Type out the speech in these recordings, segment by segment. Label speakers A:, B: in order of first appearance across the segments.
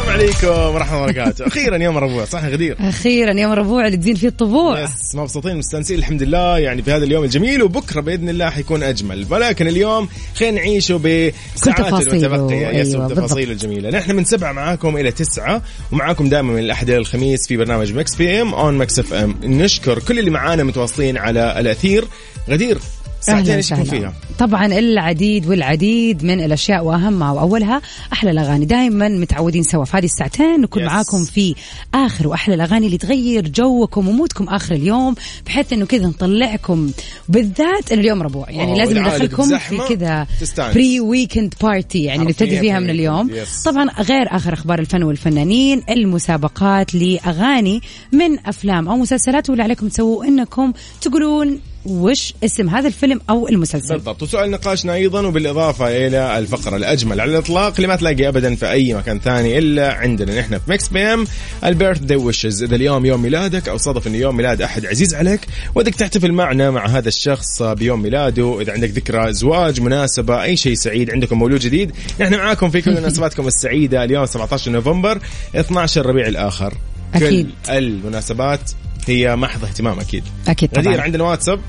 A: السلام عليكم ورحمه الله وبركاته اخيرا يوم الربوع صح يا غدير
B: اخيرا يوم الربوع اللي تزين فيه الطبوع
A: بس مبسوطين مستانسين الحمد لله يعني في هذا اليوم الجميل وبكره باذن الله حيكون اجمل ولكن اليوم خلينا نعيشه بساعات
B: تفاصيله.
A: المتبقيه يس
B: أيوة،
A: التفاصيل الجميله نحن من سبعه معاكم الى تسعه ومعاكم دائما من الاحد الى الخميس في برنامج مكس بي ام اون مكس اف ام نشكر كل اللي معانا متواصلين على الاثير غدير ساعتين
B: أهلاً
A: ايش يكون
B: وسهلاً.
A: فيها؟
B: طبعا العديد والعديد من الاشياء واهمها واولها احلى الاغاني دائما متعودين سوا في هذه الساعتين نكون
A: Yes.
B: معاكم في اخر واحلى الاغاني اللي تغير جوكم ومودكم اخر اليوم بحيث انه كذا نطلعكم بالذات انه اليوم ربوع يعني
A: واو،
B: لازم
A: العائلة
B: ندخلكم في
A: بزحمة
B: كذا
A: تستانس.
B: بري ويكند بارتي يعني
A: حرفياً
B: نبتدي فيها من
A: pre-weekend.
B: اليوم
A: Yes.
B: طبعا غير اخر اخبار الفن والفنانين المسابقات لاغاني من افلام او مسلسلات واللي عليكم تسووا انكم تقولون وش اسم هذا الفيلم او المسلسل
A: بالضبط وسؤال نقاشنا ايضا وبالاضافه الى الفقره الاجمل على الاطلاق اللي ما تلاقي ابدا في اي مكان ثاني الا عندنا نحن في ميكس بي ام البيرث داي ويشز اذا اليوم يوم ميلادك او صادف ان يوم ميلاد احد عزيز عليك ودك تحتفل معنا مع هذا الشخص بيوم ميلاده اذا عندك ذكرى زواج مناسبه اي شيء سعيد عندكم مولود جديد نحن معاكم في كل مناسباتكم السعيده اليوم 17 نوفمبر 12 ربيع الاخر
B: أكيد.
A: كل المناسبات هي محض اهتمام اكيد
B: اكيد
A: غدير
B: طبعا
A: عندنا واتساب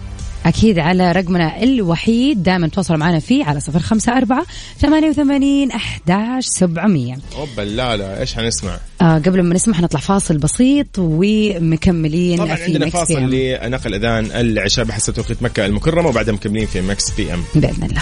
B: اكيد على رقمنا الوحيد دائما تواصلوا معنا فيه على صفر خمسه اربعه ثمانيه وثمانين احداش سبعمئه
A: اوبا لا لا ايش حنسمع
B: آه قبل ما نسمع نطلع فاصل بسيط ومكملين
A: طبعا
B: في
A: عندنا
B: Mix
A: فاصل
B: PM.
A: لنقل اذان العشاء بحسب توقيت مكه المكرمه وبعدها مكملين في مكس بي ام
B: باذن الله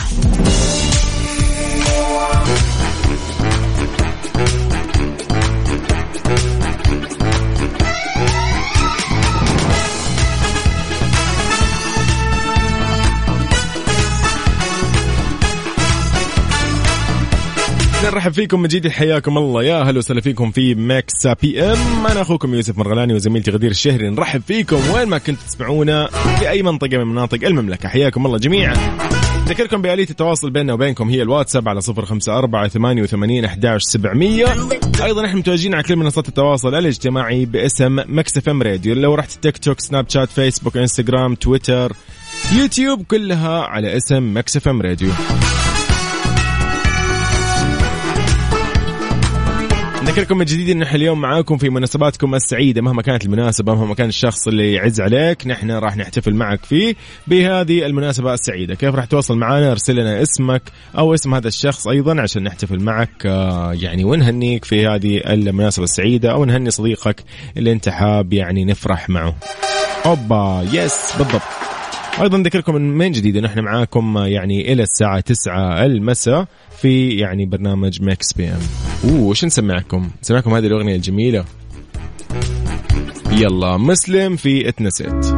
A: نرحب فيكم من جديد حياكم الله يا هلا وسهلا فيكم في مكس بي ام انا اخوكم يوسف مرغلاني وزميلتي غدير الشهري نرحب فيكم وين ما كنتوا تسمعونا في اي منطقه من مناطق المملكه حياكم الله جميعا ذكركم بآلية التواصل بيننا وبينكم هي الواتساب على 054 88 11 700 أيضا نحن متواجدين على كل منصات التواصل الاجتماعي باسم مكس اف ام راديو لو رحت تيك توك سناب شات فيسبوك انستغرام تويتر يوتيوب كلها على اسم مكس اف ام راديو نذكركم من جديد ان احنا اليوم معاكم في مناسباتكم السعيده مهما كانت المناسبه مهما كان الشخص اللي يعز عليك نحن راح نحتفل معك فيه بهذه المناسبه السعيده كيف راح تواصل معنا ارسل لنا اسمك او اسم هذا الشخص ايضا عشان نحتفل معك آه، يعني ونهنيك في هذه المناسبه السعيده او نهني صديقك اللي انت حاب يعني نفرح معه اوبا يس بالضبط ايضا نذكركم من من جديد ان احنا معاكم يعني الى الساعه 9 المساء في يعني برنامج ماكس بي ام اوه وش نسمعكم؟ نسمعكم هذه الاغنيه الجميله يلا مسلم في اتنسيت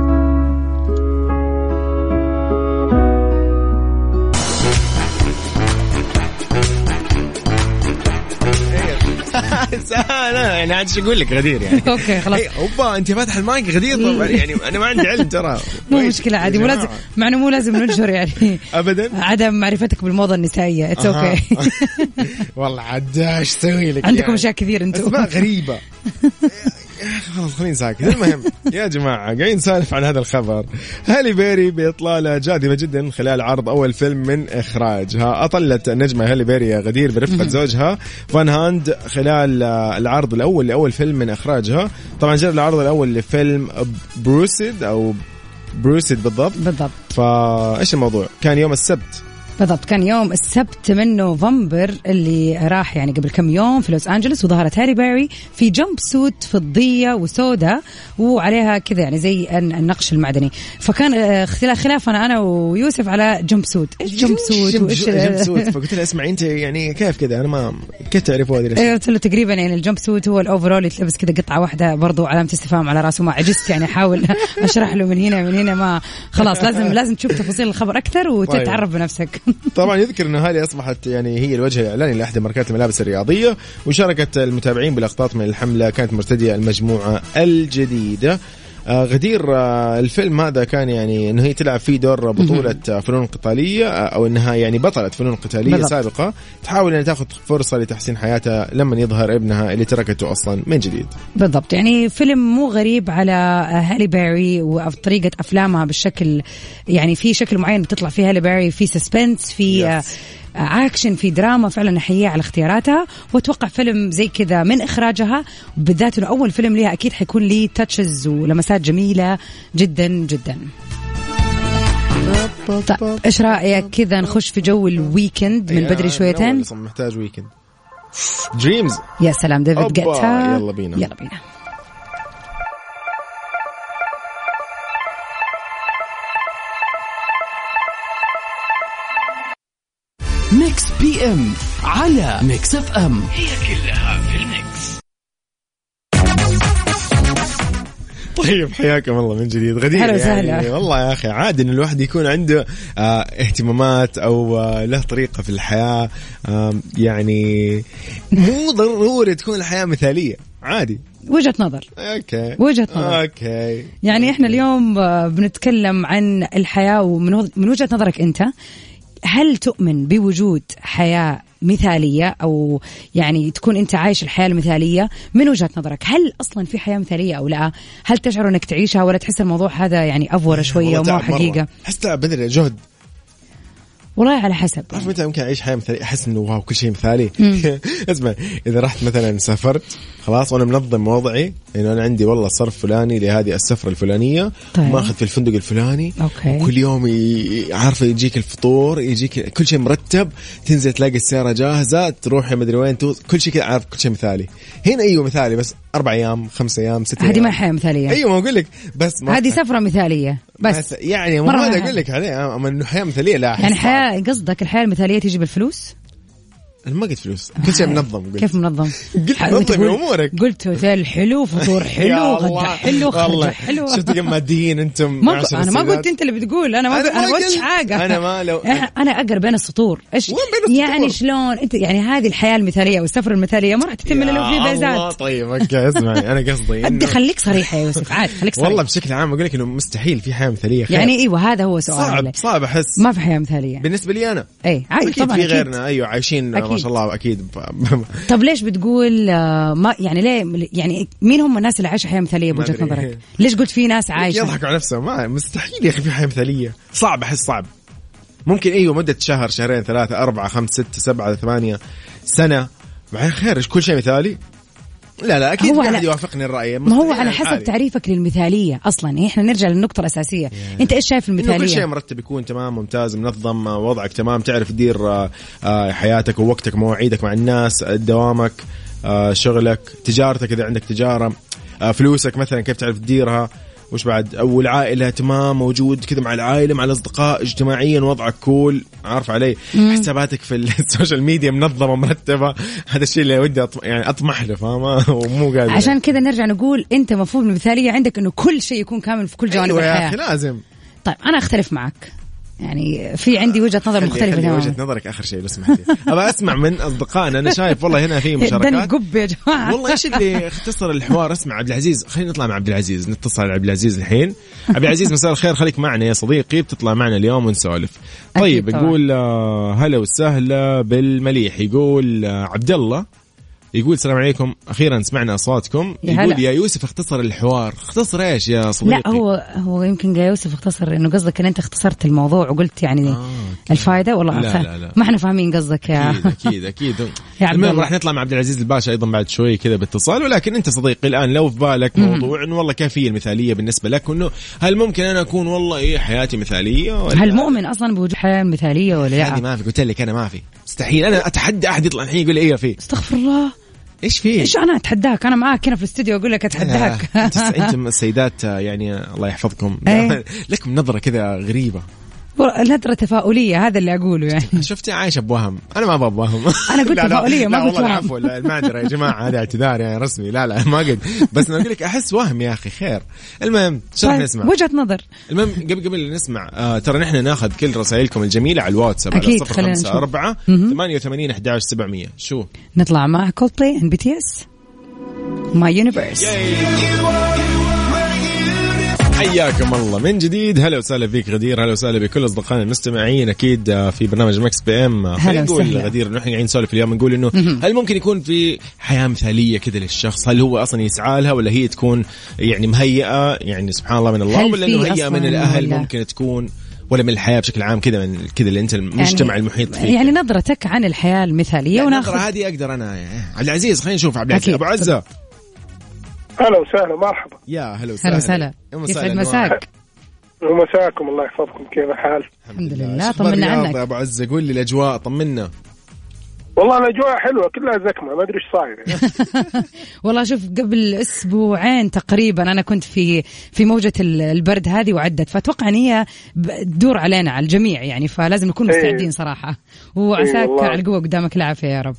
A: انا يعني عاد شو اقول لك غدير يعني
B: اوكي خلاص إيه.
A: إيه، اوبا انت فاتح المايك غدير طبعا يعني انا ما عندي علم ترى
B: مو
A: ويش
B: مشكله
A: يا
B: عادي مو
A: جماعة؟
B: لازم مع انه مو لازم ننشر يعني
A: ابدا
B: عدم معرفتك بالموضه النسائيه اتس
A: أها.
B: اوكي
A: آه. والله عاد ايش اسوي لك
B: عندكم
A: يعني؟
B: اشياء كثير انتم
A: اسماء غريبه يا أخي خلاص خليني ساكت المهم يا جماعه قاعدين نسالف عن هذا الخبر هالي بيري باطلاله جاذبه جدا خلال عرض اول فيلم من اخراجها اطلت النجمه هالي بيري يا غدير برفقه زوجها فان هاند خلال آه، العرض الاول لاول فيلم من اخراجها طبعا جاء العرض الاول لفيلم بروسيد او بروسيد بالضبط
B: بالضبط
A: فايش الموضوع كان يوم السبت
B: بالضبط كان يوم السبت من نوفمبر اللي راح يعني قبل كم يوم في لوس انجلوس وظهرت هاري بيري في جمب سوت فضيه وسوداء وعليها كذا يعني زي الن- النقش المعدني فكان آه، خلا- خلافنا انا ويوسف على جمب سوت ايش جمب سوت
A: جمب
B: وايش
A: سوت- جمب سوت فقلت لها اسمعي انت يعني كيف كذا انا ما كيف تعرفوا هذه الاشياء
B: ايوه قلت له تقريبا يعني الجمب سوت هو الاوفرول اللي تلبس كذا قطعه واحده برضو علامه استفهام على راسه ما عجزت يعني احاول اشرح له من هنا من هنا ما خلاص لازم لازم تشوف تفاصيل الخبر اكثر وتتعرف بنفسك
A: طبعا يذكر ان هالي اصبحت يعني هي الوجه الاعلاني لاحدى ماركات الملابس الرياضيه وشاركت المتابعين بلقطات من الحمله كانت مرتديه المجموعه الجديده آه، غدير آه، الفيلم هذا كان يعني انه هي تلعب فيه دور بطوله آه، فنون قتاليه آه، او انها يعني بطله فنون قتاليه
B: بالضبط.
A: سابقه تحاول انها تاخذ فرصه لتحسين حياتها لما يظهر ابنها اللي تركته اصلا من جديد
B: بالضبط يعني فيلم مو غريب على هالي بيري وطريقة أفلامها بالشكل يعني في شكل معين بتطلع فيه هالي بيري في سسبنس في
A: Yes.
B: اكشن في دراما فعلا احييها على اختياراتها واتوقع فيلم زي كذا من اخراجها بالذات انه اول فيلم لها اكيد حيكون ليه تاتشز ولمسات جميله جدا جدا طيب ايش رايك كذا نخش في جو الويكند من
A: يعني أنا
B: بدري
A: أول
B: شويتين
A: أصلاً محتاج ويكند دريمز
B: يا سلام ديفيد
A: أوبا،
B: جيتا
A: يلا بينا.
B: يلا بينا
C: ميكس بي ام على ميكس اف ام
A: طيب حياكم الله من جديد غدير
B: هلا
A: يعني
B: وسهلا.
A: والله يا اخي عادي ان الواحد يكون عنده آه اهتمامات او آه له طريقه في الحياه آه يعني مو ضروري تكون الحياه مثاليه عادي
B: وجهه نظر
A: اوكي
B: وجهة نظر.
A: اوكي
B: يعني احنا اليوم آه، بنتكلم عن الحياة ومن وض- من وجهة نظرك انت هل تؤمن بوجود حياة مثالية او يعني تكون انت عايش الحياة المثالية من وجهة نظرك هل اصلا في حياة مثالية او لا هل تشعر انك تعيشها ولا تحس الموضوع هذا يعني افورة شوية
A: والله
B: وما هو
A: تعب مرة.
B: حقيقة
A: احس تعب بدري جهد
B: والله على حسب
A: تعرف متى ممكن اعيش حياه مثاليه احس انه واو كل شيء مثالي اسمع اذا رحت مثلا سافرت خلاص وانا منظم وضعي انه انا عندي والله صرف فلاني لهذه السفره الفلانيه
B: طيب.
A: ماخذ في الفندق الفلاني
B: أوكي.
A: وكل يوم ي- عارفه يجيك الفطور يجيك كل شيء مرتب تنزل تلاقي السياره جاهزه تروح مدري وين توص- كل شيء كذا عارف كل شيء مثالي هنا ايوه مثالي بس اربع ايام خمس ايام ست
B: هذه
A: أيام.
B: ما هي حياة مثالية
A: ايوه ما اقول لك بس ما
B: هذه سفرة مثالية بس
A: يعني مو
B: مرة
A: هذا
B: واحدة.
A: اقول لك عليه اما انه حياه مثاليه لا أحس
B: يعني
A: صعب.
B: حياة قصدك الحياة المثالية تيجي بالفلوس
A: انا ما قلت فلوس كل شيء منظم قلت.
B: كيف منظم؟
A: قلت
B: ح-
A: نظم
B: تقول-
A: أمورك.
B: قلت هوتيل حلو فطور حلو
A: يا
B: غدا
A: الله.
B: حلو
A: والله.
B: خرجة حلوة
A: شفتوا كم ماديين انتم
B: ما ب...
A: عشر
B: انا ما
A: السيدات.
B: قلت انت اللي بتقول انا ما
A: أنا
B: انا, أنا
A: ما
B: ما قلت
A: قلت.
B: حاجه
A: أنا ما لو-
B: إح- انا اقرا بين السطور ايش
A: وين بين السطور؟
B: يعني شلون انت يعني هذه الحياه المثاليه والسفر المثاليه ما راح تتم الا لو
A: يا
B: في
A: الله،
B: بيزات
A: طيب اوكي اسمعي انا قصدي
B: أدي
A: إنه-
B: خليك صريح يا يوسف عاد خليك صريح
A: والله بشكل عام اقول لك انه مستحيل في حياه مثاليه خير.
B: يعني ايوه هذا هو سؤال
A: صعب صعب احس
B: ما في حياه مثاليه
A: بالنسبه لي انا
B: اي عادي
A: اكيد
B: طبعا
A: في
B: أكيد.
A: غيرنا ايوه عايشين ما
B: أكيد.
A: شاء الله اكيد ف-
B: طب ليش بتقول آه، ما يعني ليه يعني مين هم الناس اللي عايشه حياه مثاليه بوجهه
A: أدري.
B: نظرك؟ ليش قلت في ناس عايشه؟
A: يضحكوا على نفسهم ما مستحيل يا اخي في حياه مثاليه صعب احس صعب ممكن ايوه مده شهر شهرين ثلاثه اربعه خمسه سته سبعه ثمانيه سنه بعدين خير إيش كل شيء مثالي لا لا اكيد في
B: هو
A: احد
B: على-
A: يوافقني الراي
B: ما هو
A: مستحيل
B: على
A: أنا
B: حسب
A: عادي.
B: تعريفك للمثاليه اصلا احنا نرجع للنقطه الاساسيه انت ايش شايف
A: انه كل شيء
B: المثاليه؟
A: مرتب يكون تمام ممتاز منظم آه، وضعك تمام تعرف تدير آه، آه، حياتك ووقتك مواعيدك مع الناس آه، دوامك آه، شغلك تجارتك اذا عندك تجاره آه، فلوسك مثلا كيف تعرف تديرها وش بعد او العائله تمام موجود كذا مع العائله مع الاصدقاء اجتماعيا وضعك كول عارف علي حساباتك في السوشيال ميديا منظمه مرتبه هذا الشيء اللي ودي أطم... يعني اطمح له فاهمه ومو قادر
B: عشان كذا نرجع نقول انت مفهوم المثاليه عندك انه كل شيء يكون كامل في كل جوانب
A: أيوة يا اخي
B: الحياه
A: لازم
B: طيب انا اختلف معك يعني في عندي وجهه نظر
A: خلي-
B: مختلفه
A: خلي
B: تماما
A: وجهه نظرك اخر شيء لو سمحتي ابى اسمع من اصدقائنا انا شايف والله هنا في
B: دن
A: مشاركات
B: قب يا جماعه
A: والله ايش اللي اختصر الحوار اسمع عبد العزيز خلينا نطلع مع عبد العزيز نتصل على عبد العزيز الحين عبد العزيز مساء الخير خليك معنا يا صديقي بتطلع معنا اليوم ونسولف طيب
B: طبعاً.
A: نقول آه، هلا وسهلا بالمليح يقول آه، عبد الله يقول السلام عليكم اخيرا سمعنا اصواتكم
B: يا هلا.
A: يقول يا يوسف اختصر الحوار اختصر ايش يا صديقي
B: لا هو هو يمكن يا يوسف اختصر انه قصدك ان انت اختصرت الموضوع وقلت يعني
A: آه، أوكي.
B: الفائده والله
A: لا،
B: خ-
A: لا، لا.
B: ما احنا فاهمين قصدك يا يعني
A: اكيد اكيد اكيد
B: يا عبد
A: المهم
B: الله.
A: راح نطلع مع عبد العزيز الباشا ايضا بعد شوي كذا باتصال ولكن انت صديقي الان لو في بالك موضوع انه والله كيف هي المثاليه بالنسبه لك وانه هل ممكن انا اكون والله ايه حياتي مثاليه ولا
B: هل مؤمن اصلا بوجود حياه مثاليه ولا
A: هذه
B: لا؟
A: ما في قلت لك انا ما في مستحيل انا اتحدى احد يطلع الحين يقول لي ايه في
B: استغفر الله
A: ايش في
B: ايش انا اتحداك انا معاك هنا في الاستوديو اقول لك اتحداك
A: آه، انتم السيدات آه، يعني الله يحفظكم
B: إيه.
A: لكم نظره كذا غريبه
B: نظرة تفاؤلية هذا اللي أقوله يعني
A: شفتي عايشه بوهم انا ما ابغى بوهم
B: أنا قلت
A: لا لا،
B: تفاؤلية، ما
A: لا
B: قلت
A: والله
B: وهم.
A: العفو لا، المعذره يا جماعه هذا اعتذار يعني رسمي لا لا ما قلت بس انا اقول لك احس وهم يا اخي خير المهم شو راح
B: طيب،
A: نسمع
B: وجهة نظر
A: المهم قبل قبل لا نسمع آه ترى نحن ناخذ كل رسائلكم الجميله على الواتساب على
B: أكيد، خلينا
A: 054 88 11 700 شو
B: نطلع مع كولد بلاي اند بي تي اس ماي يونيفرس
A: حياكم الله من جديد هلا وسهلا فيك غدير هلا وسهلا بكل اصدقائنا المستمعين اكيد آه، في برنامج ماكس بي ام آه، خلينا
B: هلا
A: نقول
B: وسهلا.
A: غدير نحن قاعدين نسولف اليوم نقول انه هل ممكن يكون في حياه مثاليه كذا للشخص هل هو اصلا يسعى لها ولا هي تكون يعني مهيئه يعني سبحان الله من الله
B: هل
A: ولا
B: في
A: انه هيئه
B: أصلاً
A: من الاهل
B: ولا-
A: ممكن تكون ولا من الحياه بشكل عام كذا من كذا اللي انت المجتمع المحيط فيك
B: يعني نظرتك عن الحياة المثالية
A: النظرة
B: وناخذ
A: هذه اقدر انا عبد العزيز خلينا نشوف عبد العزيز
B: أكيد.
A: ابو عزه
D: هلا وسهلا مرحبا
A: يا هلا وسهلا
B: هلا وسهلا
A: يا
B: يسعد
A: أنواع.
B: مساك
D: ومساكم الله يحفظكم كيف الحال؟
B: الحمد لله،
A: شو أخبار
B: طمنا
A: الرياض
B: عنك.
A: يا ابو عزه قول لي الاجواء طمنا
D: والله الاجواء حلوه كلها زكمه ما ادري ايش صاير يعني.
B: والله شوف قبل اسبوعين تقريبا انا كنت في في موجه ال- البرد هذه وعدت فاتوقع ان هي ب- تدور علينا على الجميع يعني فلازم نكون
D: إيه.
B: مستعدين صراحه وعساك
D: والله.
B: على القوه قدامك العافيه يا رب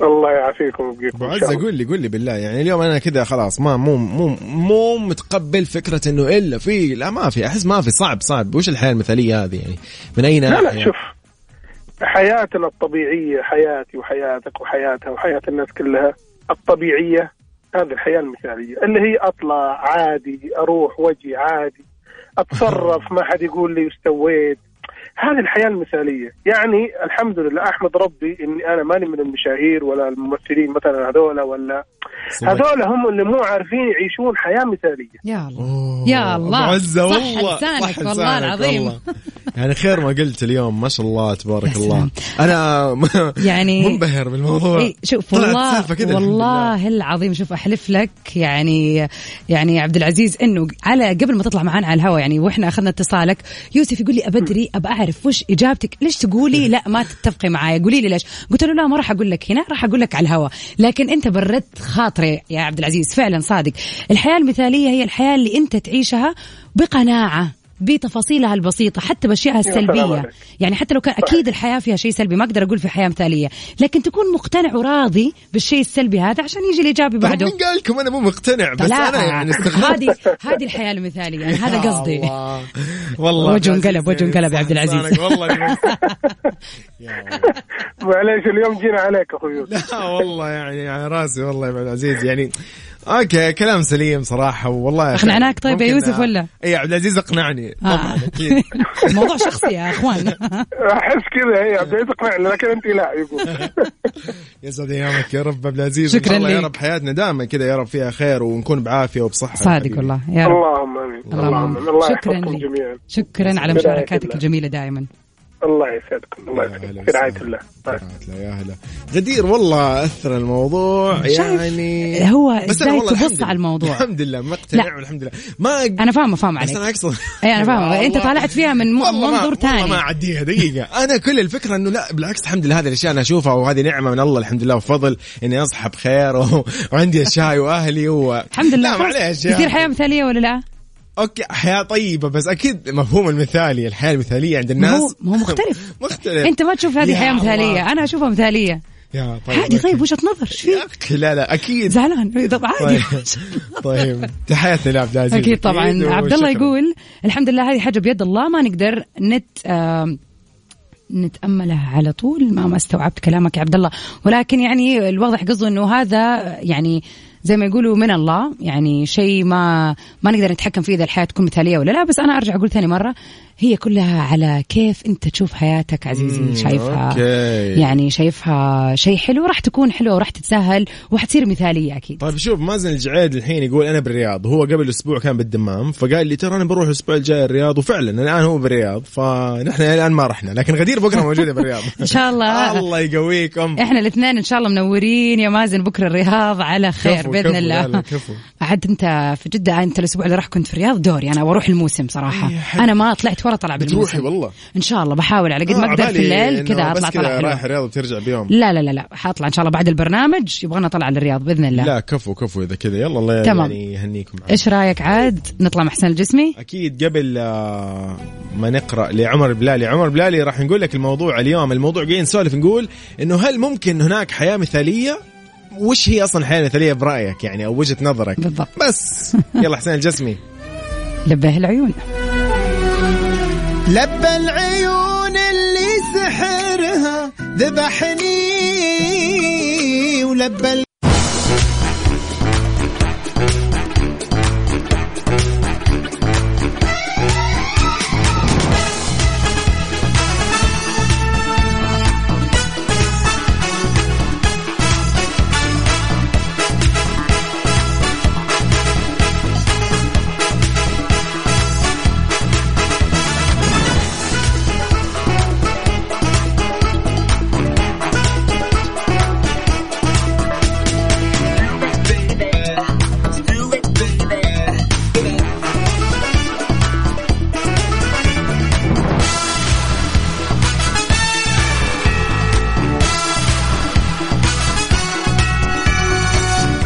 D: الله يعافيكم ويبقيكم
A: ابو
D: إن شاء
A: عزه
D: الله.
A: قول لي قول لي بالله يعني اليوم انا كذا خلاص ما مو مو مو متقبل فكره انه الا في لا ما في احس ما في صعب صعب وش الحياه المثاليه هذه يعني من اي
D: لا
A: ناحيه
D: لا شوف حياتنا الطبيعيه حياتي وحياتك وحياتها وحياه الناس كلها الطبيعيه هذه الحياه المثاليه اللي هي اطلع عادي اروح واجي عادي اتصرف ما حد يقول لي وش سويت هذه الحياه المثاليه يعني الحمد لله احمد ربي اني انا ماني من المشاهير ولا الممثلين مثلا هذولا ولا
B: طيب.
A: سمعت.
D: هذول هم اللي مو عارفين يعيشون حياه مثاليه
B: يا الله
A: أوه،
B: يا الله.
A: ابو عزه
B: صح
A: والله
B: لسانك،
A: صح
B: والله
A: لسانك،
B: العظيم.
A: والله. يعني خير ما قلت اليوم ما شاء الله تبارك
B: يا
A: الله
B: سلام.
A: انا
B: يعني-
A: منبهر بالموضوع
B: اي شوف
A: طلعت
B: والله
A: سالفة كده الحمد لله.
B: والله العظيم شوف احلف لك يعني يعني عبد العزيز انه على قبل ما تطلع معانا على الهواء يعني واحنا اخذنا اتصالك يوسف يقول لي ابدري ابى اعرف وش اجابتك ليش تقولي لا ما تتفقي معايا قولي لي ليش قلت له لا ما راح اقول لك هنا راح اقول لك على الهواء لكن انت بردت خاطري يا عبد العزيز فعلا صادق الحياه المثاليه هي الحياه اللي انت تعيشها بقناعه بتفاصيلها البسيطة حتى بأشيائها
D: سلام
B: السلبية
D: عليك.
B: يعني حتى لو كان اكيد الحياه فيها شيء سلبي ما اقدر اقول في حياه مثاليه لكن تكون مقتنع وراضي بالشيء السلبي هذا عشان يجي الايجابي
A: طب
B: بعده
A: طيب، مين قال لكم انا مو مقتنع بس
B: لا
A: انا يعني استغربت
B: هذه هذه الحياه المثاليه يعني هذا
A: يا
B: قصدي
A: الله. والله
B: وجه
A: عبد العزيز
B: انقلب، وجه
A: يعني
B: انقلب يا عبد
A: صح
B: العزيز.
A: لسانك، والله يعني-
D: معليش اليوم جينا عليك اخوي يوسف
A: لا والله يعني على راسي والله يا عبد العزيز يعني اوكي كلام سليم صراحه والله يا أخي.
B: أقنعناك طيب يا
A: ممكن-
B: يوسف ولا؟
A: اي عبد العزيز اقنعني طبعا
B: آه.
A: اكيد
B: موضوع شخصي يا اخوان
D: احس كذا هي عبد العزيز اقنعني لكن انت لا يقول
A: يسعد ايامك يا رب عبد العزيز
B: شكراً
A: إن الله يا
B: لك.
A: رب حياتنا دائما كذا يا رب فيها خير ونكون بعافيه وبصحه يا
B: صادق
A: حبيبي.
B: والله يا رب
D: اللهم امين
B: اللهم
D: اللهم امين الله
B: شكراً
D: يحفظكم
B: لك.
D: جميعا
B: شكرا على
D: برعاية
B: مشاركاتك
D: الله.
B: الجميله دائما
D: الله يسعدكم الله
A: يا هلا
D: يسعدكم في رعايه
A: وسهلا.
D: الله
A: في
B: طيب.
A: رعاية الله يا هلا غدير والله اثر الموضوع
B: شايف؟
A: يعني
B: هو
A: بس أنا
B: إزاي
A: والله
B: تبص
A: الحمد لله-
B: على الموضوع.
A: الحمد لله مقتنع
B: لا.
A: والحمد لله ما أق-
B: انا فاهمه فاهمه
A: بس
B: عليك إيه،
A: انا اقصد
B: اي انا فاهمه
A: والله-
B: انت طالعت فيها من م-
A: والله ما-
B: منظور
A: والله ما
B: ثاني
A: اعديها دقيقه انا كل الفكره انه لا بالعكس الحمد لله هذه الاشياء انا اشوفها وهذه نعمه من الله الحمد لله وفضل اني اصحى بخير و... وعندي الشاي واهلي و...
B: الحمد لله
A: لا معليش يا
B: كثير
A: أخي.
B: حياه مثاليه ولا لا؟
A: اوكي حياه طيبه بس اكيد مفهوم المثالي الحياه المثاليه عند الناس
B: هو- ما هو مختلف.
A: مختلف
B: انت ما تشوف هذه
A: طيب. يا
B: حياه
A: الله.
B: مثاليه انا اشوفها مثاليه
A: يا طيب
B: عادي
A: أوكي.
B: طيب وجهه نظر ايش
A: يا
B: فيك؟
A: أخي، لا لا اكيد
B: زعلان طب عادي
A: طيب طيب تحياتنا لعبد العزيز
B: اكيد طبعا
A: وشكراً.
B: عبد الله يقول الحمد لله هذه حاجه بيد الله ما نقدر نت آم، نتاملها على طول ما ما استوعبت كلامك يا عبد الله ولكن يعني الواضح قصده انه هذا يعني زي ما يقولوا من الله يعني شيء ما ما نقدر نتحكم فيه اذا الحياه تكون مثاليه ولا لا بس انا ارجع اقول ثاني مره هي كلها على كيف انت تشوف حياتك عزيزي
A: مم،
B: شايفها
A: أوكي.
E: إيه.
B: يعني شايفها شيء حلو راح تكون حلوه وراح تتسهل وحتصير مثاليه اكيد
A: طيب شوف مازن الجعيد الحين يقول انا بالرياض هو قبل اسبوع كان بالدمام فقال لي ترى انا بروح الاسبوع الجاي الرياض وفعلا الان هو بالرياض فنحن الان ما رحنا لكن غدير بكره موجوده بالرياض
B: إن شاء الله.
A: الله يقويكم
B: احنا الاثنين ان شاء الله منورين يا مازن بكره الرياض على خير
A: كفو
B: باذن الله عاد انت في جده انت الاسبوع اللي راح كنت في الرياض دوري انا بروح الموسم صراحه
E: إيه، حلو.
B: انا ما طلعت ولا طلع بالموسم
E: بتروحي والله
B: ان شاء الله بحاول على قد
E: آه،
B: ما اقدر
E: عبالي
B: في الليل
E: إنه
B: كذا اطلع
E: بس كذا
B: طلع حلو.
E: رايح رياض وترجع بيوم
B: لا لا لا لا حاطلع ان شاء الله بعد البرنامج يبغانا اطلع للرياض باذن الله
A: لا كفو كفو اذا كذا يلا الله
B: تمام.
A: يعني يهنيكم
B: ايش رايك عاد نطلع مع حسين الجسمي
A: اكيد قبل آه، ما نقرا لعمر بلالي عمر بلالي راح نقول لك الموضوع اليوم الموضوع جايين نسولف نقول انه هل ممكن هناك حياه مثاليه وش هي اصلا الحياه المثاليه برايك يعني او وجهه نظرك
B: بالضبط.
A: بس يلا حسين الجسمي
B: لبه العيون
A: لبى العيون اللي سحرها ذبحني ولبى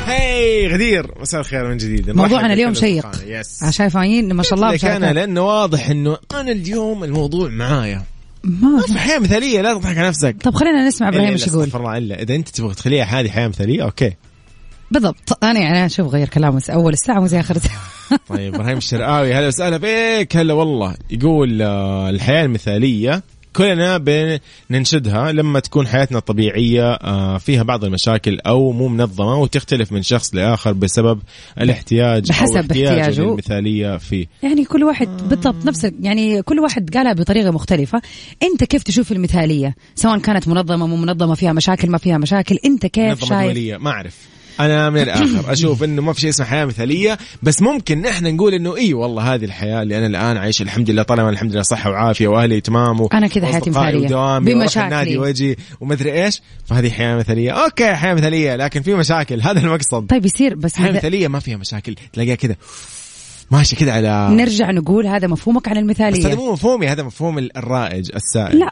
A: هاي غدير مساء الخير من جديد نرحب
B: موضوعنا اليوم
A: بالفريق
B: شيق
A: الفقراني. يس
B: عشان فاهمين ما شاء الله
A: قلت لك انا
B: مشاركات.
A: لانه واضح انه انا اليوم الموضوع معايا
B: ما
A: في حياه مثاليه طيب، لا تضحك على نفسك
B: طب خلينا نسمع ابراهيم
A: إلا-
B: ايش
A: إلا
B: يقول
A: استغفر الله الا اذا انت تبغى تخليها هذه حياه مثاليه اوكي
B: بالضبط انا يعني شوف غير كلامه اول الساعه مو زي اخر الساعه
A: طيب ابراهيم الشرقاوي هلا وسهلا بك هلا والله يقول آه، الحياه المثاليه كلنا بننشدها لما تكون حياتنا الطبيعية آه، فيها بعض المشاكل أو مو منظمة وتختلف من شخص لآخر بسبب الاحتياج
B: بحسب
A: أو احتياجه
B: احتياجه.
A: للمثالية فيه
B: يعني كل واحد
A: آه.
B: بالضبط نفس يعني كل واحد قالها بطريقه مختلفه انت كيف تشوف المثاليه سواء كانت منظمه مو منظمه فيها مشاكل ما فيها مشاكل انت كيف
A: منظمة
B: شايف
A: دولية ما أعرف أنا من الآخر أشوف إنه ما في شيء اسمه حياة مثالية بس ممكن نحن نقول إنه إي والله هذه الحياة اللي أنا الآن عايش الحمد لله طالما الحمد لله صحة وعافية وأهلي تمام و-
B: أنا كذا حياتي
A: وأصدقائي
B: مثالية.
A: ودوامي وأروح
B: بمشاكلي.
A: النادي وأجي ومدري إيش فهذه حياة مثالية أوكي حياة مثالية لكن في مشاكل هذا المقصد
B: طيب يصير بس
A: حياة
B: إذا-
A: مثالية ما فيها مشاكل تلاقيها كذا ماشي كذا على
B: نرجع نقول هذا مفهومك عن
A: بس هذا
B: المثاليه
A: مو مفهومي هذا مفهوم الرائج السائد
B: لا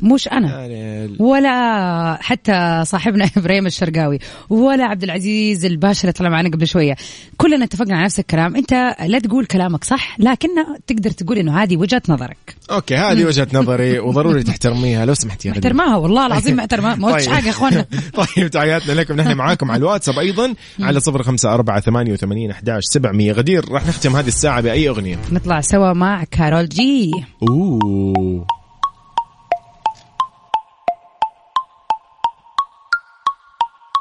B: مش انا
A: يعني ال-
B: ولا حتى صاحبنا ابراهيم الشرقاوي ولا عبد العزيز الباشا اللي طلع معنا قبل شويه كلنا اتفقنا على نفس الكلام انت لا تقول كلامك صح لكن تقدر تقول انه هذه وجهه نظرك
A: اوكي هذه وجهة نظري وضروري تحترميها لو سمحت يا غدير.
B: احترمها والله العظيم احترمها ما قلتش حاجه يا اخوانا
A: طيب تحياتنا لكم نحن معاكم على الواتساب ايضا على صفر خمسة أربعة ثمانية وثمانين أحداش سبعمية غدير راح نختم هذه الساعة بأي أغنية
B: نطلع سوا مع كارول جي
A: أوه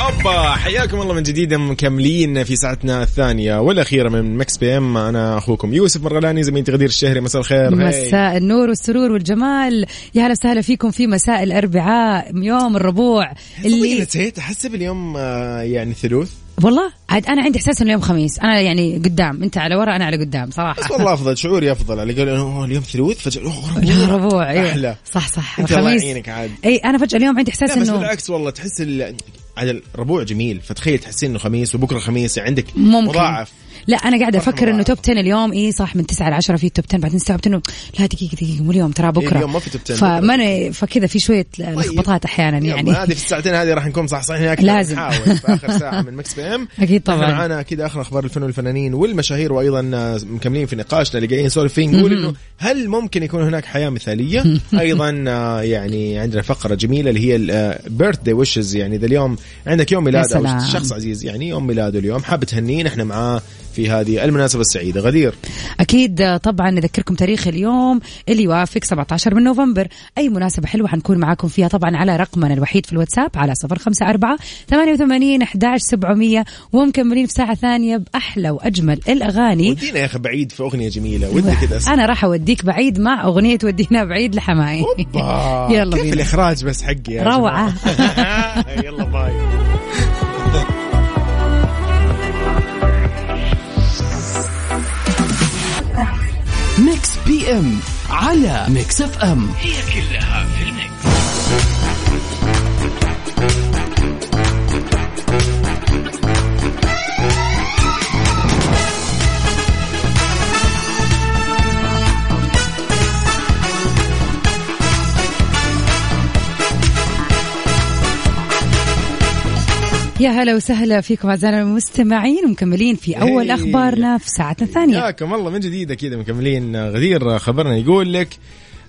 A: أبا حياكم الله من جديد مكملين في ساعتنا الثانية والأخيرة من مكس بي أم أنا أخوكم يوسف مرغلاني زميلتي غدير الشهري مساء الخير هاي.
B: مساء النور والسرور والجمال يا هلا وسهلا فيكم في مساء الاربعاء يوم الربوع
A: اللي
B: اللي
A: نسيت أحسب اليوم آه، يعني ثلوث
B: والله عاد انا عندي احساس انه يوم خميس انا يعني قدام انت على ورا انا على قدام صراحه
A: بس والله أفضل شعوري أفضل اللي قالوا أوه، اليوم ثلوث فجأة أوه،
B: لا، ربوع
A: أحلى.
B: ايه صح صح
A: أنت الله
B: الخميس
A: يعينك عاد
B: اي انا فجاه اليوم عندي احساس
A: لا بس
B: انه
A: بالعكس والله تحس ال... على الربوع جميل فتخيل تحسين انه خميس وبكره خميس يعني عندك
B: ممكن
A: مضاعف
B: لا انا قاعده
A: فرحة
B: افكر انه
A: مضاعفة.
B: توب 10 اليوم اي صح من 9 ل 10 في توب 10 بعدين استوعبت انه لا دقيقه دقيقه مو اليوم ترى بكره
A: يعني اليوم ما في توب 10 بكرة. طيب.
B: فما أنا- فكذا في شويه لخبطات احيانا يعني
A: يلا، هذه في الساعتين هذه راح نكون صح صحيح اكثر
B: لازم.
A: نحاول في اخر ساعه من مكس بي ام
B: أكيد طبعاً.
A: إحنا معانا اكيد اخر اخبار الفن والفنانين والمشاهير وايضا مكملين في نقاشنا اللي قاعدين نسولف فيه نقول انه هل ممكن يكون هناك حياه مثاليه؟ ايضا آه، يعني عندنا فقره جميله اللي هي بيرث داي ويشز يعني اذا اليوم عندك يوم ميلاد او
B: سلام.
A: شخص عزيز يعني يوم ميلاده اليوم حاب تهنيه نحن معاه في هذه المناسبه السعيده غدير
B: اكيد طبعا نذكركم تاريخ اليوم اللي يوافق 17 من نوفمبر اي مناسبه حلوه حنكون معاكم فيها طبعا على رقمنا الوحيد في الواتساب على 054 88 11700 ومشاركتكم مكملين في ساعه ثانيه باحلى واجمل الاغاني
A: ودينا يا اخي بعيد في اغنيه جميله ودي كذا أسمع.
B: انا راح اوديك بعيد مع اغنيه ودينا بعيد لحماي
A: أوبا.
B: يلا
A: آه، كيف
B: بينا.
A: الاخراج بس حقي يا
B: روعه
A: جماعة؟ يلا باي
C: ميكس بي ام على ميكس اف ام
B: يا هلا وسهلا فيكم اعزائنا المستمعين ومكملين في اول
A: هي.
B: اخبارنا في ساعتنا الثانيه
A: ياكم الله من جديد اكيد مكملين غدير خبرنا يقول لك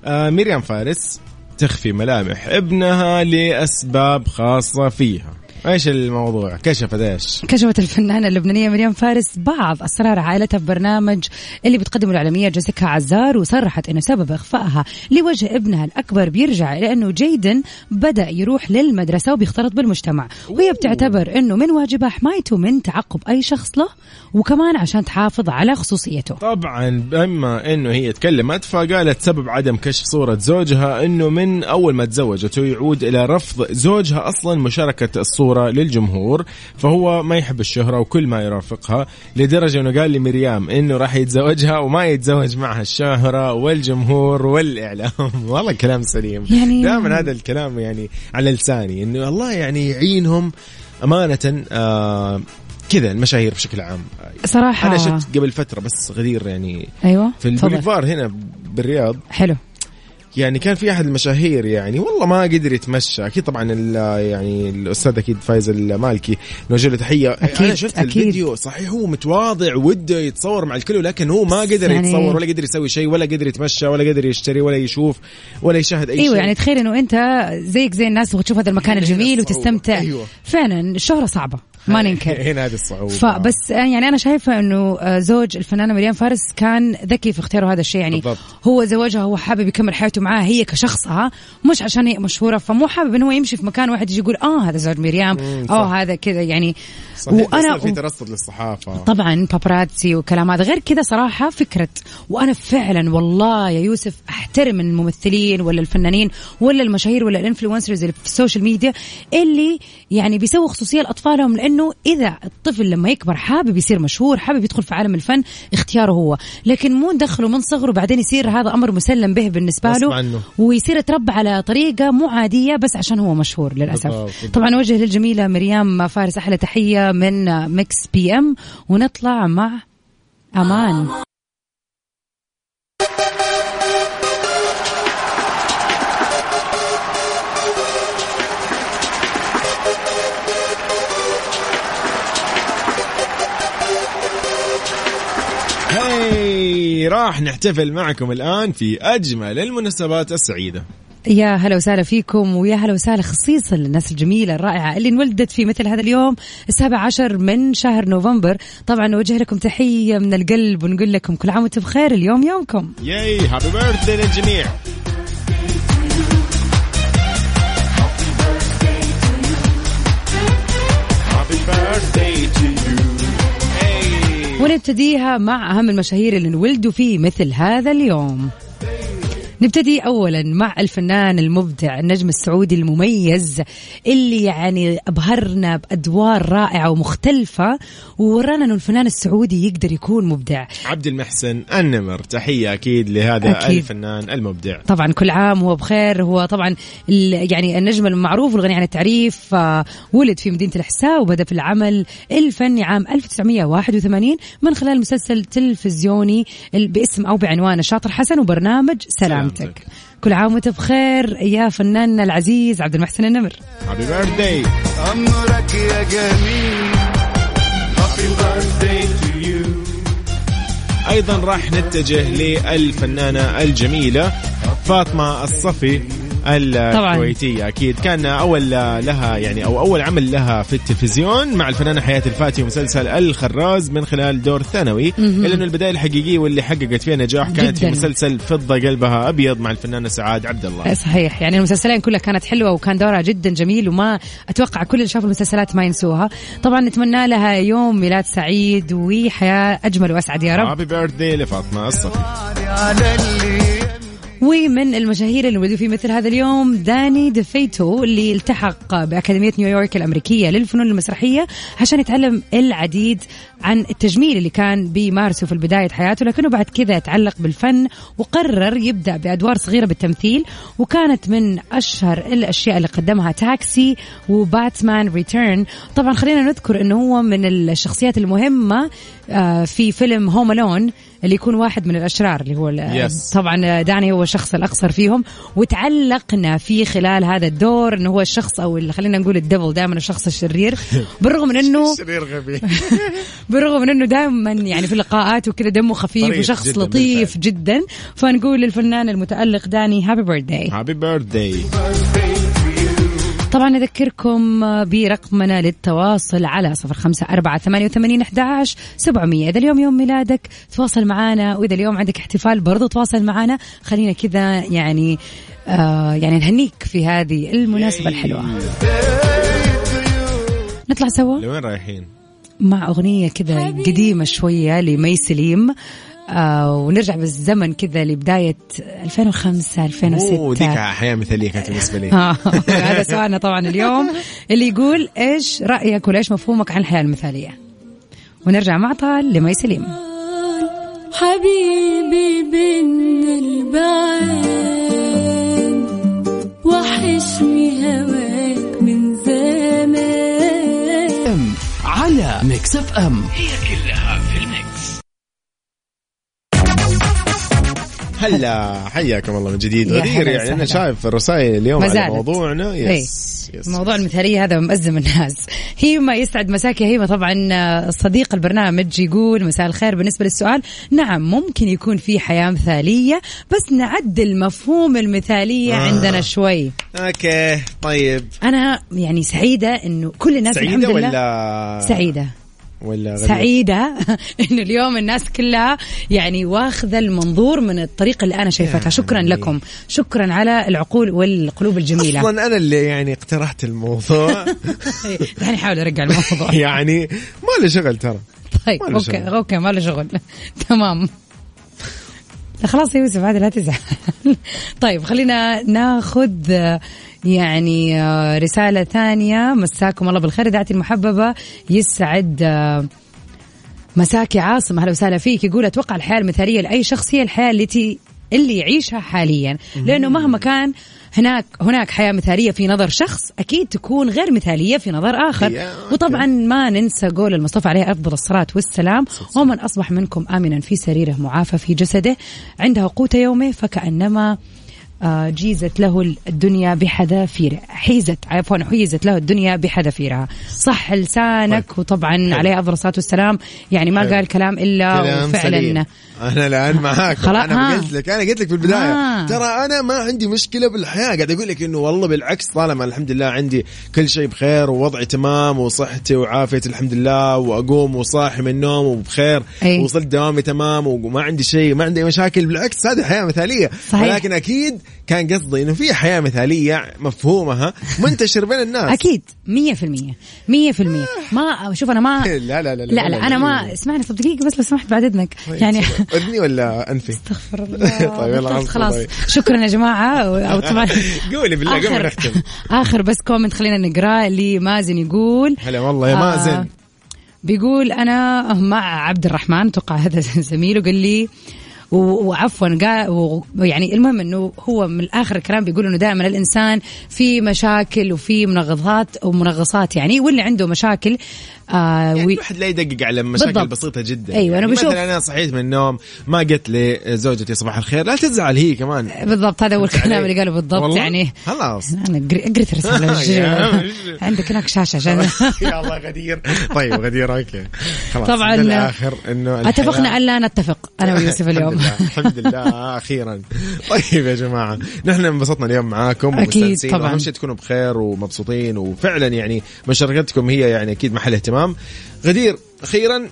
A: آه، مريم فارس تخفي ملامح ابنها لاسباب خاصه فيها ايش الموضوع كشفت ايش
B: كشفت الفنانة اللبنانية مريم فارس بعض أسرار عائلتها في برنامج اللي بتقدمه الإعلامية جيسيكا عزار وصرحت إنه سبب إخفائها لوجه ابنها الأكبر بيرجع إلى إنه جيدن بدأ يروح للمدرسة وبيختلط بالمجتمع وهي بتعتبر إنه من واجبها حمايته من تعقب أي شخص له وكمان عشان تحافظ على خصوصيته
A: طبعا اما انه هي تكلمت فقالت سبب عدم كشف صوره زوجها انه من اول ما تزوجت يعود الى رفض زوجها اصلا مشاركه الصوره للجمهور فهو ما يحب الشهره وكل ما يرافقها لدرجه انه قال لمريم انه راح يتزوجها وما يتزوج معها الشهره والجمهور والاعلام والله كلام سليم
B: يعني-
A: دائما هذا الكلام يعني على لساني انه الله يعني يعينهم امانه آه كذا المشاهير بشكل عام
B: صراحة
A: انا شفت قبل فتره بس غدير يعني
B: أيوة
A: في
B: آه. تفضل.
A: البوليفار هنا بالرياض
B: حلو
A: يعني كان في احد المشاهير يعني والله ما قدر يتمشى اكيد طبعا ال- يعني الاستاذ اكيد فايز المالكي نوجه له تحيه
B: أكيد،
A: انا شفت
B: أكيد.
A: الفيديو صحيح هو متواضع وده يتصور مع الكل ولكن هو ما قدر
B: يعني-
A: يتصور ولا قدر يسوي شيء ولا قدر يتمشى ولا قدر يشتري ولا يشوف ولا يشاهد اي
B: ايوه
A: شيء
B: يعني تخيل انه انت زيك زي الناس وتشوف هذا المكان
A: هنا
B: الجميل
A: الصعوبة.
B: وتستمتع
A: أيوة.
B: فعلا الشهره صعبه ما ننكر
A: هنا هذه الصعوبه
B: فبس يعني انا شايفه انه آه، زوج الفنانه مريم فارس كان ذكي في اختياره هذا الشيء يعني
A: بالضبط.
B: هو زوجها هو حابب يكمل حياته معاها هي كشخصها مش عشان هي مشهوره فمو حابب انه هو يمشي في مكان واحد يجي يقول اه هذا زوج مريم
A: صح.
B: او هذا كذا يعني
A: صحيح وانا في ترصد للصحافه
B: طبعا بابراتسي وكلام هذا غير كذا صراحة فكرة وأنا فعلا والله يا يوسف أحترم الممثلين ولا الفنانين ولا المشاهير ولا الانفلونسرز اللي في السوشيال ميديا اللي يعني بيسووا خصوصية لأطفالهم لأنه إذا الطفل لما يكبر حابب يصير مشهور حابب يدخل في عالم الفن اختياره هو لكن مو ندخله من صغره بعدين يصير هذا أمر مسلم به بالنسبة
A: غصب
B: له
A: عنه.
B: ويصير يتربى على طريقة مو عادية بس عشان هو مشهور للأسف
A: بالضبط، بالضبط.
B: طبعا نوجه للجميلة مريم فارس أحلى تحية من ميكس بي أم ونطلع مع أمان
A: هاي راح نحتفل معكم الان في اجمل المناسبات السعيده
B: يا هلا وسهلا فيكم ويا هلا وسهلا خصيصا للناس الجميلة الرائعة اللي انولدت في مثل هذا اليوم السابع عشر من شهر نوفمبر طبعا نوجه لكم تحية من القلب ونقول لكم كل عام وانتم بخير اليوم يومكم
A: ياي هابي بيرثدي للجميع
B: ونبتديها مع أهم المشاهير اللي انولدوا في مثل هذا اليوم نبتدي اولا مع الفنان المبدع النجم السعودي المميز اللي يعني ابهرنا بادوار رائعه ومختلفه وورانا انه الفنان السعودي يقدر يكون مبدع
A: عبد المحسن النمر تحية أكيد لهذا
B: أكيد.
A: أكيد. الفنان المبدع
B: طبعا كل عام وهو بخير هو طبعا ال- يعني النجم المعروف والغني عن التعريف آه، ولد في مدينة الحساء وبدأ في العمل الفني عام 1981 من خلال مسلسل تلفزيوني ال- باسم أو بعنوان الشاطر حسن وبرنامج سلامتك,
A: سلامتك.
B: كل عام وانت بخير يا فناننا العزيز عبد المحسن النمر
A: هابي بيرثدي
E: أمرك يا جميل
A: أيضا راح نتجه للفنانة الجميلة فاطمة الصفي الكويتية أكيد كان أول لها يعني أو أول عمل لها في التلفزيون مع الفنانة حياة الفاتي ومسلسل الخراز من خلال دور ثانوي إلا أنه البداية الحقيقية واللي حققت فيها نجاح كانت في
B: جداً.
A: مسلسل فضة قلبها أبيض مع الفنانة سعاد عبد الله
B: صحيح يعني المسلسلين كلها كانت حلوه وكان دورها جدا جميل وما اتوقع كل اللي شافوا المسلسلات ما ينسوها طبعا نتمنى لها يوم ميلاد سعيد وحياه اجمل واسعد يا رب
A: هابي بيرثدي لفاطمة الصفي
E: على اللي
B: ومن المشاهير اللي ولدوا في مثل هذا اليوم داني ديفيتو اللي التحق بأكاديمية نيويورك الأمريكية للفنون المسرحية عشان يتعلم العديد عن التجميل اللي كان بيمارسه في بداية حياته لكنه بعد كذا يتعلق بالفن وقرر يبدأ بأدوار صغيرة بالتمثيل وكانت من أشهر الأشياء اللي قدمها تاكسي وباتمان ريتيرن طبعا خلينا نذكر أنه هو من الشخصيات المهمة آه، في فيلم هوم ألون اللي يكون واحد من الأشرار اللي هو ال-
A: Yes.
B: طبعا آه، داني هو الشخص الاقصر فيهم وتعلقنا فيه خلال هذا الدور انه هو الشخص او اللي خلينا نقول الدبل دائما الشخص الشرير بالرغم من انه
A: شرير غبي
B: بالرغم من انه دائما يعني في اللقاءات وكذا دمه خفيف
A: طريف
B: وشخص
A: جداً
B: لطيف جدا فنقول للفنان المتالق داني هابي بيرثداي
A: هابي بيرثدي
B: طبعا نذكركم برقمنا للتواصل على صفر خمسة أربعة ثمانية وثمانين أحداش سبعمية إذا اليوم يوم ميلادك تواصل معنا وإذا اليوم عندك احتفال برضو تواصل معنا خلينا كذا يعني آه يعني نهنيك في هذه المناسبة الحلوة نطلع سوا
A: لوين رايحين؟
B: مع أغنية كذا قديمة شوية لمي سليم آه ونرجع بالزمن كذا لبداية 2005 2006
A: اوه ديك حياة مثالية كانت بالنسبة لي
B: آه، هذا سؤالنا طبعا اليوم اللي يقول ايش رايك ولا ايش مفهومك عن الحياه المثاليه ونرجع مع طال لمي سليم
F: حبيبي بين البعد وحشني هواك من زمان
C: ام على ميكس اف ام
A: هلا حياكم الله من جديد
B: يا
A: غدير
B: هلا
A: يعني انا
B: وسهلا.
A: شايف الرسائل اليوم
B: ما
A: على
B: زالت.
A: موضوعنا
B: إيه.
A: يس يس
B: موضوع المثالية هذا مأزم الناس هيما يسعد مساك يا هيما طبعا صديق البرنامج يقول مساء الخير بالنسبة للسؤال نعم ممكن يكون في حياة مثالية بس نعدل مفهوم المثالية
A: آه.
B: عندنا شوي
A: اوكي طيب
B: أنا يعني سعيدة إنه كل الناس
A: سعيدة
B: الحمد لله
A: ولا
B: سعيدة
A: ولا غبية؟
B: سعيدة انه اليوم الناس كلها يعني واخذة المنظور من الطريقة اللي انا شايفتها شكرا لكم شكرا على العقول والقلوب الجميلة
A: اصلا انا اللي يعني اقترحت الموضوع
B: دعني احاول ارجع الموضوع
A: يعني ما له شغل ترى
B: طيب
A: ما له
B: اوكي
A: شغل.
B: اوكي ما له شغل تمام لا خلاص يا يوسف عادي لا تزعل طيب خلينا ناخذ آه، يعني آه، رسالة ثانية مساكم الله بالخير إذاعتي المحببة يسعد آه، مساك يا عاصم اهلا وسهلا فيك يقول اتوقع الحياه المثاليه لاي شخص هي الحياه التي اللي يعيشها حاليا لانه مهما كان هناك هناك حياه مثاليه في نظر شخص اكيد تكون غير مثاليه في نظر اخر
A: يا أوكي.
B: وطبعا ما ننسى قول المصطفى عليه افضل الصلاه والسلام ومن اصبح منكم امنا في سريره معافى في جسده عنده قوت يومه فكانما آه، جيزت له الدنيا بحذافيرها حيزت عفوا حيزت له الدنيا بحذافيرها صح لسانك وطبعا عليه افضل الصلاه والسلام يعني ما
A: حلو.
B: قال كلام الا
A: كلام سليم.
B: وفعلا
A: انا الان معاك
B: خلاص،
A: انا
B: ها.
A: قلت لك انا قلت لك في البدايه
B: ها.
A: ترى انا ما عندي مشكله بالحياه قاعد اقول لك انه والله بالعكس طالما الحمد لله عندي كل شيء بخير ووضعي تمام وصحتي وعافيتي الحمد لله واقوم وصاحي من النوم وبخير
B: أي.
A: وصلت دوامي تمام وما عندي شيء ما عندي أي مشاكل بالعكس هذه حياه مثاليه
B: صحيح.
A: ولكن اكيد كان قصدي انه في حياه مثاليه مفهومها منتشر بين الناس
B: اكيد 100% 100% ما شوف انا ما
A: لا لا لا طيب، لا
B: لا لا انا ما اسمعني طب دقيقه بس لو سمحت بعد اذنك يعني
A: اذني ولا انفي
B: استغفر الله
A: طيب، يلا عفو،
B: خلاص
A: طيب.
B: شكرا يا جماعه أو طبعا
A: قولي بالله قبل ما نختم.
B: اخر بس كومنت خلينا نقراه لمازن يقول
A: هلا والله يا
B: آه،
A: مازن
B: بيقول انا مع عبد الرحمن اتوقع هذا زميله قال لي و- وعفوا قال و- يعني المهم انه هو من اخر الكلام بيقول انه دائما الانسان في مشاكل وفي منغصات ومنغصات يعني واللي عنده مشاكل آه
A: يعني
B: وي...
A: الواحد لا يدقق على مشاكل
B: بالضبط.
A: بسيطة جدا
B: أيوة، أنا
A: يعني
B: بشوف.
A: مثلا أنا صحيت من النوم ما قلت لزوجتي صباح الخير لا تزعل هي كمان
B: بالضبط هذا هو
A: فهمت
B: الكلام
A: علي؟
B: اللي قاله بالضبط
A: والله؟
B: يعني
A: خلاص
B: انا قر- قريت
A: يا
B: الرساله
A: عم.
B: عندك هناك شاشه عشان
A: يا الله غدير طيب غدير اوكي خلاص
B: طبعا
A: ده الآخر انه
B: اتفقنا
A: الحياة-
B: الا نتفق انا ويوسف اليوم
A: الحمد لله الحمد لله اخيرا طيب يا جماعه نحن انبسطنا اليوم معاكم
B: أكيد
A: ومستانسين
B: طبعاً.
A: واهم شيء تكونوا بخير ومبسوطين وفعلا يعني مشاركتكم هي يعني اكيد محل اهتمام غدير اخيرا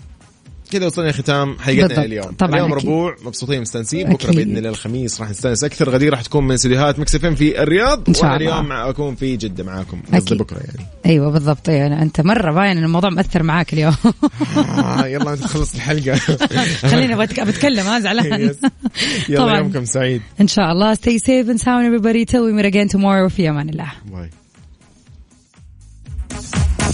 A: كذا وصلنا لختام
B: بالضبط.
A: حلقتنا اليوم
B: طبعاً
A: اليوم
B: أكيد.
A: ربوع مبسوطين مستانسين بكره
B: أكيد.
A: باذن الله الخميس راح نستانس اكثر غدير راح تكون من استديوهات مكسفين في الرياض
B: إن شاء
A: وانا
B: الله.
A: اليوم مع اكون في جده معاكم قصدي
B: أكيد.
A: بكره يعني
B: ايوه بالضبط أيوة. أنا- انت مره باين ان الموضوع مأثر معاك اليوم
A: آه يلا نخلص الحلقه
B: خليني أبغى- بتكلم ها زعلان
A: Yes. يلا
B: طبعا
A: يومكم سعيد
B: ان شاء الله stay safe and sound everybody till we meet again tomorrow في امان الله
A: باي